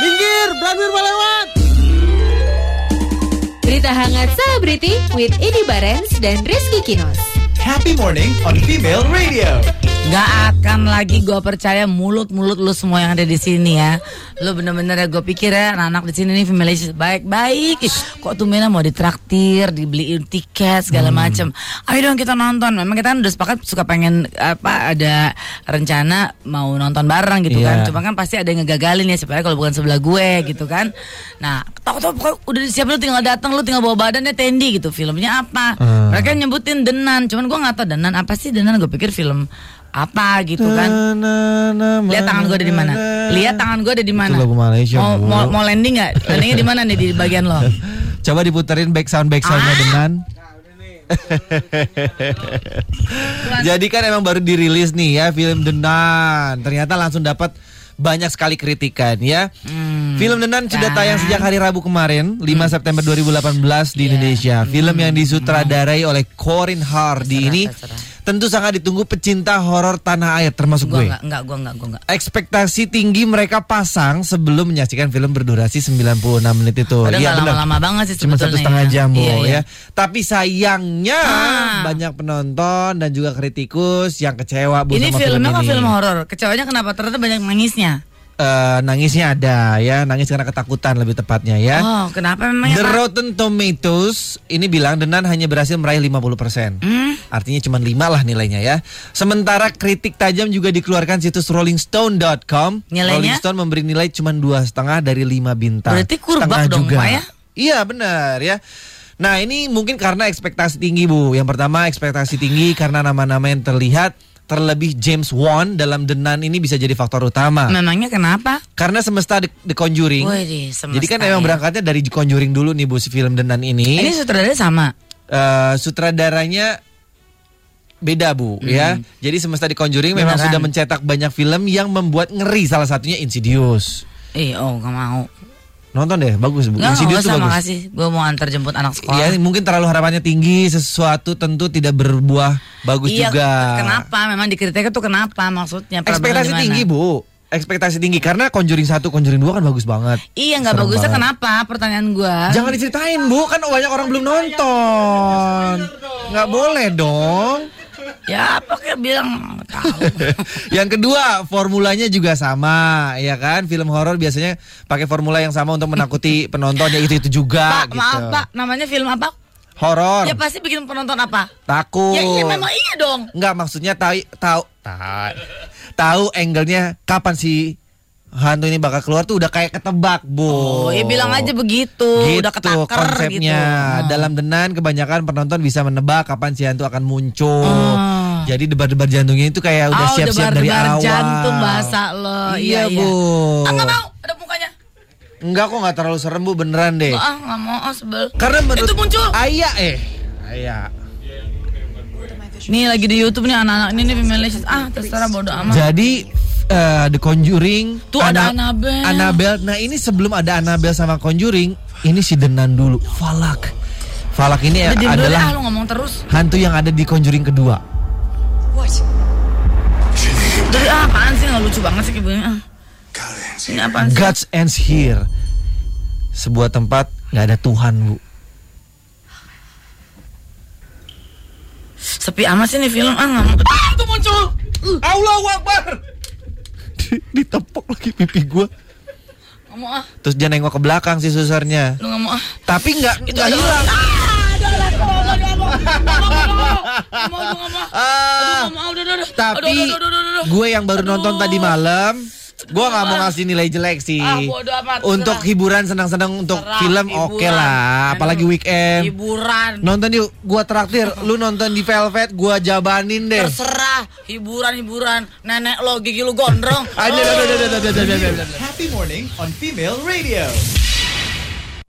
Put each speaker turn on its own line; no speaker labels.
Branwir, Branwir melewat.
Berita hangat selebriti with Edi Barens dan Rizky Kinos.
Happy morning on Female Radio.
Gak akan lagi gue percaya mulut-mulut lu semua yang ada di sini ya. Lu bener-bener ya gue pikir ya anak-anak di sini nih family baik-baik. Ih, Kok tuh Mena mau ditraktir, dibeliin tiket segala macem. Ayo dong kita nonton. Memang kita kan udah sepakat suka pengen apa ada rencana mau nonton bareng gitu
Iya.
kan. Cuma kan pasti ada yang ngegagalin ya siapa kalau bukan sebelah gue gitu kan. Nah tau-tau pokoknya udah disiapin lu tinggal datang lu tinggal bawa badannya Tendi gitu. Filmnya apa?
Hmm.
Mereka nyebutin Denan, cuman gue nggak tahu Denan apa sih Denan. Gue pikir film apa gitu kan. Lihat tangan gue ada di mana? Lihat tangan gue ada di mana?
Itu lagu Malaysia,
Mau,
Bu.
mau, mau landing nggak? Landingnya di mana nih di bagian lo?
Coba diputerin back sound back soundnya
Ah.
dengan. Jadi kan emang baru dirilis nih ya film Denan. Ternyata langsung dapat banyak sekali kritikan ya. Film Denan sudah
kan.
tayang sejak hari Rabu kemarin, 5
Hmm.
September 2018 di
Iya.
Indonesia. Film yang disutradarai oleh Corin Hardy ini
terserah.
tentu sangat ditunggu pecinta horor tanah air termasuk
Gue
gue.
nggak, nggak, gue nggak, gue nggak.
Ekspektasi tinggi mereka pasang sebelum menyaksikan film berdurasi 96 menit itu. Iya,
Padahal nggak
benar.
lama-lama banget sih
Cuma satu
sebetulnya
setengah
ya.
jam Bu,
Iya, iya.
ya. Tapi sayangnya
Ah.
banyak penonton dan juga kritikus yang kecewa bu
Ini
sama
filmnya
film
kok
ini.
film horor. Kecewanya kenapa? Ternyata banyak nangisnya.
Eh, nangisnya ada ya, nangis karena ketakutan lebih tepatnya ya.
Oh, kenapa
The
memangnya? Pak?
Rotten Tomatoes ini bilang Denan hanya berhasil meraih 50%.
Hmm?
Artinya cuma 5 lah nilainya ya. Sementara kritik tajam juga dikeluarkan situs rollingstone.com.
Nilainya?
Rolling Stone memberi nilai cuma dua setengah dari 5 bintang.
Berarti kurbak
Setengah
dong, Pak, ya?
Iya benar ya. Nah ini mungkin karena ekspektasi tinggi Bu. Yang pertama ekspektasi tinggi karena nama-nama yang terlihat terlebih James Wan dalam Denan ini bisa jadi faktor utama.
Memangnya kenapa?
Karena semesta The, The Conjuring.
Wih, semesta
Jadi kan emang
ya.
berangkatnya dari The Conjuring dulu nih Bu si film Denan ini.
Ini sutradaranya sama.
Eh, sutradaranya beda Bu ya. Jadi semesta The Conjuring memang
Beneran.
sudah mencetak banyak film yang membuat ngeri salah satunya Insidious.
Eh, oh, gak mau.
Nonton deh, bagus Bu.
Nggak, nggak
Insidious tuh
usah,
bagus.
makasih. Gue mau antar jemput anak sekolah.
Iya, mungkin terlalu harapannya tinggi, sesuatu tentu tidak berbuah bagus
Iya,
juga.
Kenapa? Memang dikritiknya tuh kenapa maksudnya?
Ekspektasi
problemnya di
tinggi,
mana?
Bu. Ekspektasi tinggi karena Conjuring 1, Conjuring 2 kan bagus banget.
Iya nggak
Serem
bagusnya
banget.
kenapa? Pertanyaan gua.
Jangan diceritain, Bu. Kan banyak orang belum nonton. Nggak boleh dong.
Ya apa kayak bilang nggak tahu.
Yang kedua, formulanya juga sama, ya kan? Film horor biasanya pakai formula yang sama untuk menakuti penontonnya itu-itu juga
Pak,
gitu.
maaf Pak, namanya film apa?
Horor,
Ya pasti bikin penonton apa?
takut.
Ya iya memang iya dong.
Enggak, maksudnya tahu tahu tai- tahu angle-nya kapan sih hantu ini bakal keluar tuh udah kayak ketebak, Bu.
Oh, ya bilang aja begitu,
Gitu
udah ketaker
konsepnya.
gitu.
Dalam Denan kebanyakan penonton bisa menebak kapan si hantu akan muncul. Jadi debar-debar jantungnya itu kayak udah
Ah. Oh,
siap-siap dari
debar-debar
awal.
jantung bahasa lo.
Iya,
Iya, iya.
Bu.
Ah, nggak mau, ada mukanya.
Enggak kok nggak terlalu serem Bu beneran deh.
Ah, nggak mau, ah, sebel.
Eh. Karena menurut
Itu muncul.
Aya eh. Aya.
Nih lagi di YouTube nih anak-anak ini nih pemilih ah terserah bodo amat.
Jadi eh, The Conjuring
Tuh ada Annabelle.
Annabelle. Nah, ini sebelum ada Annabelle sama Conjuring, ini si Denan dulu. Falak. Falak ini
Udah diem dulu deh, ah
adalah
lu ngomong terus.
hantu yang ada di Conjuring kedua.
Dari ah, apaan sih nggak lucu banget sih kayak begini, ah. Ini apaan sih?
God's Ends Here. Sebuah tempat nggak ada Tuhan, Bu.
Sepi amat sih nih film ah nggak mau. Ah tuh muncul. Uh,
Allahu Akbar. Ditepok lagi pipi gua.
nggak mau ah,
Terus dia nengok ke belakang si susernya.
lu nggak mau ah.
Tapi nggak nggak
ada
hilang.
orang. Ah, ada orang, nggak mau, nggak mau, nggak mau, nggak mau. Nggak mau, nggak mau. Aduh,
Ah.
nggak mau, udah, udah, udah.
Tapi
Aduh, aduh, aduh, aduh, aduh.
gue yang baru
Aduh.
nonton tadi malam Gue gak mau ngasih nilai jelek sih
Ah, bodo amat,
Untuk
serah.
hiburan senang-senang Untuk
Terang,
film
hiburan.
oke lah Apalagi weekend
hiburan
Nonton yuk Gue traktir Lu nonton di Velvet Gue jabanin deh
terserah hiburan hiburan nenek lo gigi lu gondrong
Aduh, aduh, aduh, aduh, aduh, aduh, aduh, aduh, aduh.
Happy morning on Female Radio.